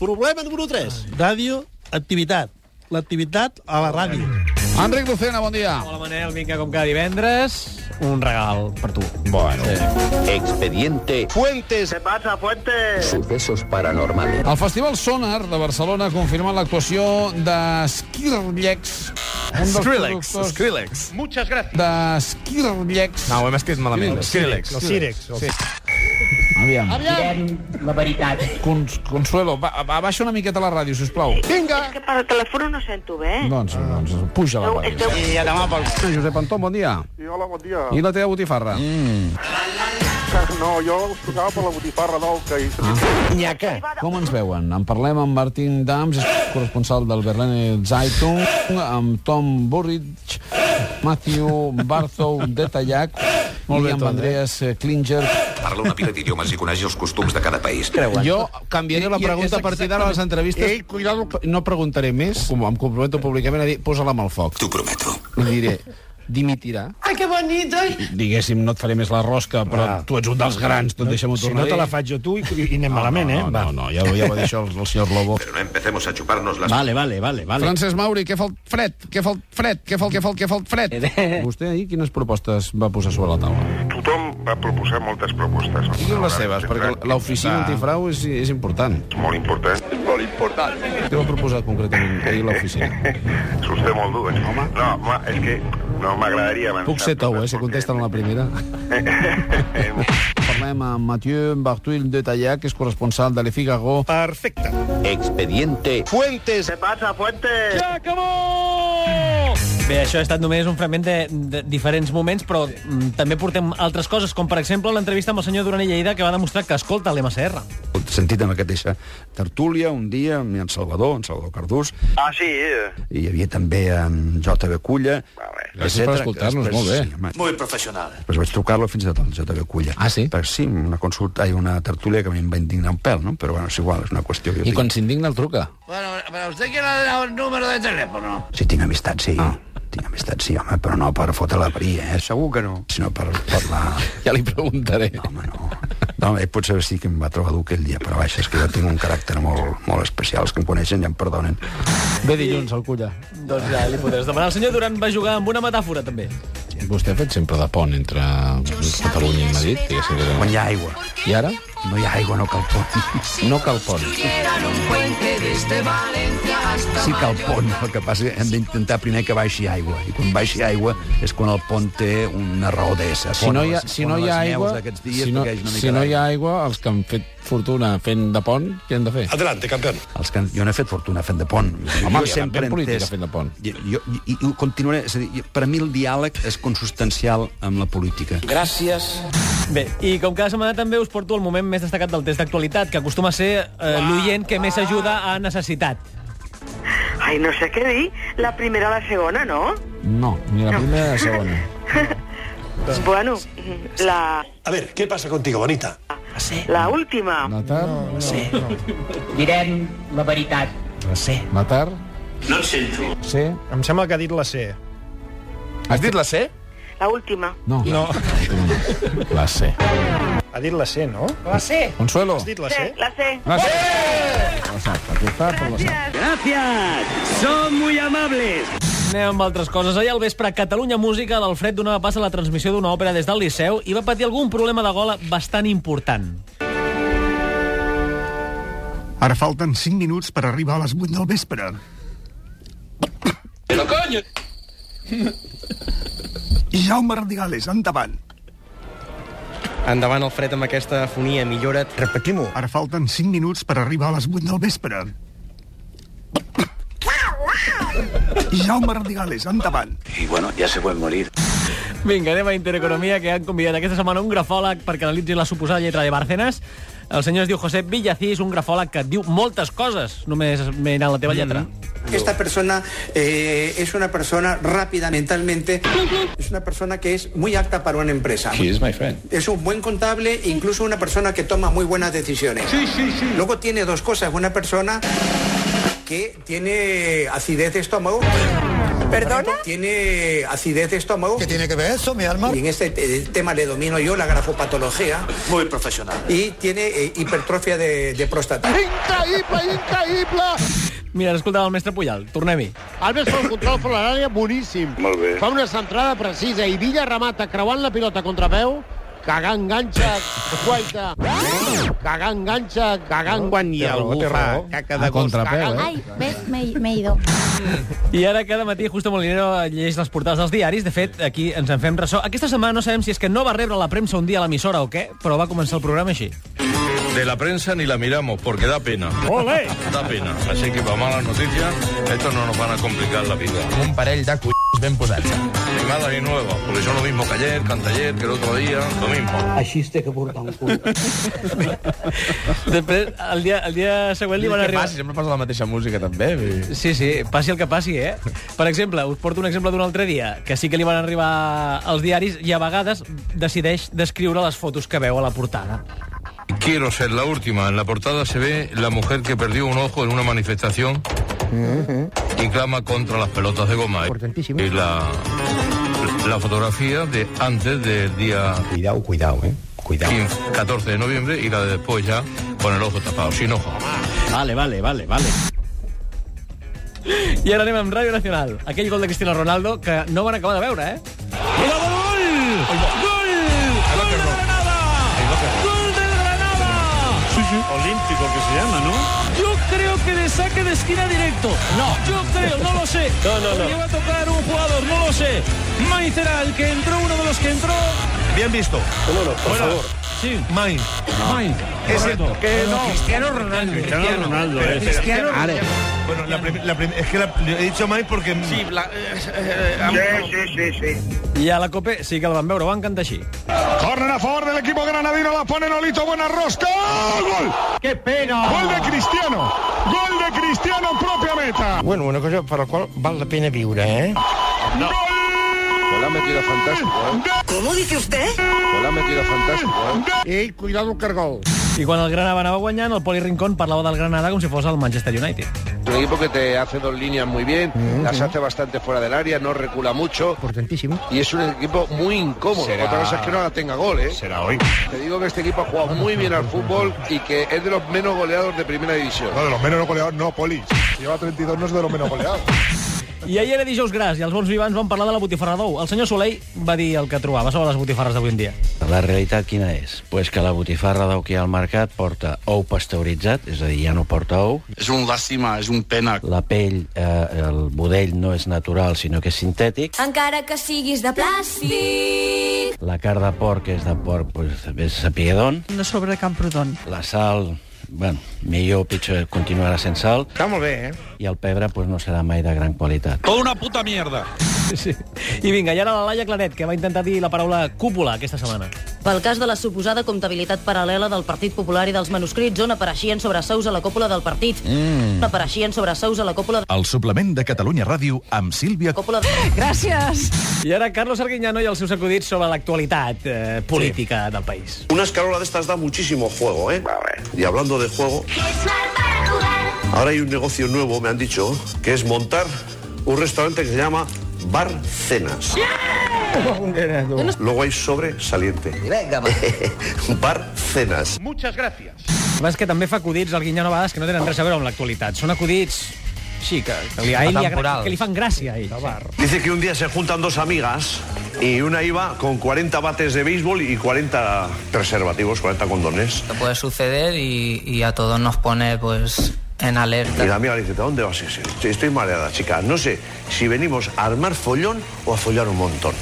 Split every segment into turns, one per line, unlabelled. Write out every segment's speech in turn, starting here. Problema número 3.
Ràdio, activitat. L'activitat a la ràdio.
Enric Lucena, bon dia.
Hola, Manel, vinga, com cada divendres, un regal per tu.
Bueno.
Expediente
Fuentes.
Sucesos Paranormales.
El Festival Sonar de Barcelona ha confirmat l'actuació d'Skirlex, un dels
Skrillex,
productors
Skrillex.
d'Skirlex.
No, ho hem escrit malament. Skrillex.
No, Sírex. Sí.
Aviam.
La veritat.
Cons Consuelo, ba ba- baixa una miqueta la ràdio, sisplau.
És que per telèfon no ¿eh? sento bé.
Doncs, doncs, puja la
No,
ràdio.
esteu...
I a demà pel...
Josep Anton, bon dia.
Sí, hola, bon dia.
I la teva botifarra?
No, jo us tocava per la botifarra d'Olca i...
Ah.
Nyaca.
Com ens veuen? En parlem amb Martín Dams, és corresponsal del Berlín Zeitung, amb Tom Burridge, Matthew Barthou de Tallac, Molt bé, i amb Andreas eh? Klinger.
Parla una pila d'idiomes i coneix els costums de cada país.
Jo canviaria la pregunta a partir d'ara a les entrevistes. Ei, cuidado. No preguntaré més, com em comprometo públicament a dir, posa-la amb el foc.
T'ho prometo.
Li diré, dimitirà.
Ai, que bonito.
Diguéssim, no et faré més la rosca, però ah.
Ah.
tu ets un dels grans, tot no, deixa-m'ho
Si
tornar
no
a
te la
dir.
faig jo tu i, i anem malament, eh?
no,
Va.
No, no, ja, ho- ja ho va dir això el, el senyor Lobo.
Però no empecemos a chuparnos las...
Vale, vale, vale, vale.
Francesc Mauri, què fa el fred? Què fa el fred? Què fa el, què fa el, què fa el fred? Vostè ahir quines propostes va posar sobre la taula?
Tothom va proposar moltes propostes.
Digui'm les seves, perquè l'oficina
Antifrau és, és important.
Molt important. Molt important.
Què va proposar concretament ahir l'oficina?
És vostè molt dur, eh? Home. No, home, és que no m'agradaria... avançar Eh,
Puc ser tou, eh, si
perquè-
contesten a la primera. Parlem amb Mathieu Bartuil de Tallà, que és corresponsal de Le Figaro.
Perfecte.
Expediente
Fuentes.
Bé, això ha estat només un fragment de, de diferents moments, però mm, també portem altres coses, com per exemple l'entrevista amb el senyor Duran i Lleida, que va demostrar que escolta l'MSR.
sentit en aquesta tertúlia un dia amb en Salvador, en Salvador Cardús,
Ah, sí? eh?
i hi havia també en J.B. Culla.
Vale.
Gràcies per escoltar-nos, molt bé.
Molt professional. Després vaig trucar-lo fins i tot al J.B. Culla.
Ah, sí?
Perquè sí, una consulta i una tertúlia que a mi em va indignar un pèl, no? Però bueno, és igual, és una qüestió que jo
I
tinc.
quan s'indigna el truca.
Sí, tinc amistat, sí. Ah. Tinc amistat, sí, home, però no per fotre la paria, eh? Segur que no. Sinó per parlar...
Ja li preguntaré.
No, home, no. No, eh, potser sí que em va trobar dur aquell dia, però vaja, és que jo tinc un caràcter molt, molt especial. Els que em coneixen ja em perdonen.
Ve dilluns, el Culla.
Doncs ja li podràs demanar. El senyor Duran va jugar amb una metàfora, també.
Vostè ha fet sempre de pont entre Catalunya i Madrid, diguéssim que
Quan hi ha aigua,
I ara?
no hi ha aigua, no cal pont.
No cal pont.
Sí que el pont, el que passa és que hem d'intentar primer que baixi aigua. I quan baixi aigua és quan el pont té una raó d'ésser.
Si no hi ha, si no hi ha aigua, si no, si no hi ha aigua, els que han fet fortuna fent de pont, què han de fer?
Adelante, campeón.
Els que han, jo n'he fet fortuna fent de pont.
Home,
jo
ja, ben
he
política
entès-
fent de pont.
Jo, jo, i, i ho continuaré, és a dir, jo- per a mi el diàleg és consustancial amb la política.
Bé, i com cada setmana també us porto el moment més destacat del test d'actualitat, que acostuma a ser eh, l'oient que més ajuda a necessitat.
Ai, no sé què dir. La primera a la segona, no?
No, ni la primera ni la segona.
Bueno, la,
A ver, ¿qué pasa contigo, bonita?
la última.
Matar, no,
Direm la veritat.
matar... No et sento. Sí?
Em sembla que ha dit la C.
Has dit la C?
La última.
No. no.
La C.
Ha dit la C, no?
Consuelo.
Has dit la
Sí,
C?
la sé.
La sé. La sap, aquí està, però la sap.
Anem amb altres coses. Ahir al vespre, a Catalunya Música, l'Alfred donava pas a la transmissió d'una òpera des del Liceu i va patir algun problema de gola bastant important.
Ara falten 5 minuts per arribar a les 8 del vespre. Però conya! Jaume Radigales, endavant.
Endavant, Alfred, amb aquesta afonia, millora't. Repetim-ho.
Ara falten 5 minuts per arribar a les 8 del vespre. Jaume Radigales, endavant.
Y bueno, ya se puede morir.
Vinga, anem a Intereconomia, que han convidat aquesta setmana un grafòleg perquè analitzi la suposada lletra de Bárcenas. El senyor es diu Josep Villacís, un grafòleg que et diu moltes coses, només mirant la teva lletra.
Esta persona eh, es una persona rápida mentalmente. Es una persona que es muy apta para una empresa.
is my friend.
Es un buen contable, incluso una persona que toma muy buenas decisiones. Sí, sí, sí. Luego tiene dos cosas. Una persona que tiene acidez de estómago.
¿Perdona? Tiene acidez de estómago. ¿Qué tiene que ver eso, mi alma? Y en este eh, tema le domino yo la grafopatología. Muy profesional. Y tiene eh, hipertrofia de, de próstata.
Increïble, increïble!
Mira, escoltava el mestre Puyal. Tornem-hi.
Alves fa un control per l'àrea boníssim.
Molt bé.
Fa una centrada precisa i Villa remata creuant la pilota contra peu, cagant ganxa, guaita. Cagant ganxa, cagant... Quan hi
caca de contrapeu, eh?
eh?
Ay, ves, me, me he ido.
I ara cada matí Justo Molinero llegeix les portades dels diaris. De fet, aquí ens en fem ressò. Aquesta setmana no sabem si és que no va rebre la premsa un dia a l'emissora o què, però va començar el programa així.
De la prensa ni la miramos porque da pena.
¡Ole!
Da pena. Así que para malas noticias, esto no nos van a complicar la vida.
Un parell de collons ben posats.
Ni malas ni nuevas, porque son lo mismo que ayer, que anteayer, que el otro día, lo mismo.
Així es té que portar un cul.
Després, el dia, el dia següent li van arribar...
Passi, sempre posa la mateixa música, també. vull dir.
Sí, sí, passi el que passi, eh? Per exemple, us porto un exemple d'un altre dia, que sí que li van arribar als diaris i a vegades decideix descriure les fotos que veu a la portada.
Quiero ser la última. En la portada se ve la mujer que perdió un ojo en una manifestación y clama contra las pelotas de goma.
Importantísimo.
Y la, la fotografía de antes del día... Cuidado, cuidado, eh. Cuidado. 14 de noviembre y la de después ya con el ojo tapado, sin ojo.
Vale, vale, vale, vale. I ara anem amb Ràdio Nacional. Aquell gol de Cristiano Ronaldo que no van acabar de veure, eh? Mira, gol! Gol! Gol! Gol de Granada! Gol de Granada!
Sí, sí. Olímpico que se llama, ¿no?
Yo creo que de saque de esquina directo. No. Yo creo, no lo sé.
No, no, no.
Porque va a tocar un jugador, no lo sé. Maicera, el que entró, uno de los que entró.
Bien visto.
por favor. Sí. Main. Main.
Es el
Correcto.
que no.
Cristiano Ronaldo.
Cristiano Ronaldo, eh.
Cristiano
Ara.
Ronaldo.
Bueno, la prim- la prim- es que la- he dicho Mai porque... Sí,
sí, sí, sí. I a la COPE sí que el van veure, ho van cantar així.
Corner a favor del equipo granadino, la pone Nolito, buena rosca. ¡Oh, ¡Gol! ¡Qué pena! Gol de Cristiano. Gol de Cristiano en propia meta.
Bueno, una cosa per la qual val la pena viure, eh?
No. Gol. Lo ha metido fantástico, eh. ¿Cómo dice usted? Lo ha metido fantástico, eh.
Ei, cuidado, cargol.
I quan el Granada anava guanyant, el Poli Rincón parlava del Granada com si fos el Manchester United.
Un equipo que te hace dos líneas muy bien, las hace bastante fuera del área, no recula mucho. Importantísimo. Y es un equipo muy incómodo.
Será-
Otra cosa es que no la tenga gol, ¿eh? Será hoy. Te digo que este equipo ha jugado muy bien al fútbol y que es de los menos goleados de primera división.
No, de los menos goleados no, Poli. Si lleva 32, no es de los menos goleados.
I ahir era dijous gras i els bons vivants van parlar de la botifarra d'ou. El senyor Soleil va dir el que trobava sobre les botifarres d'avui en dia.
La realitat quina és? Pues que la botifarra d'ou que hi ha al mercat porta ou pasteuritzat, és a dir, ja no porta ou. És un làstima, és un pena. La pell, eh, el budell no és natural, sinó que és sintètic.
Encara que siguis de plàstic.
La carn de porc és de porc, pues, és saber d'on.
No sobre Camprodon.
La sal, bueno, millor o pitjor continuarà sense sal.
Està molt bé, eh?
I el pebre pues, no serà mai de gran qualitat.
Toda una puta mierda. Sí. I vinga, i ara la Laia Claret, que va intentar dir la paraula cúpula aquesta setmana.
Pel cas de la suposada comptabilitat paral·lela del Partit Popular i dels manuscrits on apareixien sobresous a la còpula del partit. Mm. On apareixien sobresous a la còpula...
El suplement de Catalunya Ràdio amb Sílvia...
còpula... Gràcies!
I ara Carlos Arguiñano i els seus acudits sobre l'actualitat eh, política sí. del país.
Una escarola de estas da muchísimo juego, ¿eh? Y hablando de juego, ahora hay un negocio nuevo, me han dicho, que es montar un restaurante que se llama Bar Cenas. Luego hay sobresaliente. Bar Cenas.
Muchas gracias. És que també fa acudits al Guinyano a vegades que no tenen res a veure amb l'actualitat. Són acudits... Sí, que, que, li, a ell li agra...
Atemporals.
que li fan gràcia a ell. Sí.
Dice que un día se juntan dos amigas y una iba con 40 bates de béisbol y 40 preservativos, 40 condones.
puede suceder y, y a todos nos pone pues en alerta.
Y la amiga le dice, ¿a dónde vas? Ese? Estoy mareada, chica. No sé si venimos a armar follón o a follar un montón.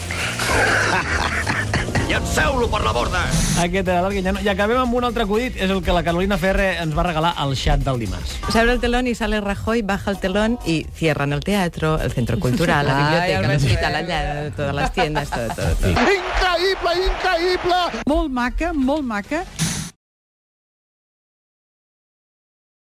Seu-lo per la borda! Aquest era l'Arguinyano. I acabem amb un altre acudit, és el que la Carolina Ferre ens va regalar al xat del dimarts.
Se abre el telón y sale Rajoy, baja el telón y cierran el teatro, el centro cultural, la
Ay,
biblioteca, el
Albert
hospital, allá, todas las tiendas, todo, todo, todo.
Increïble, increïble!
Molt maca, molt maca,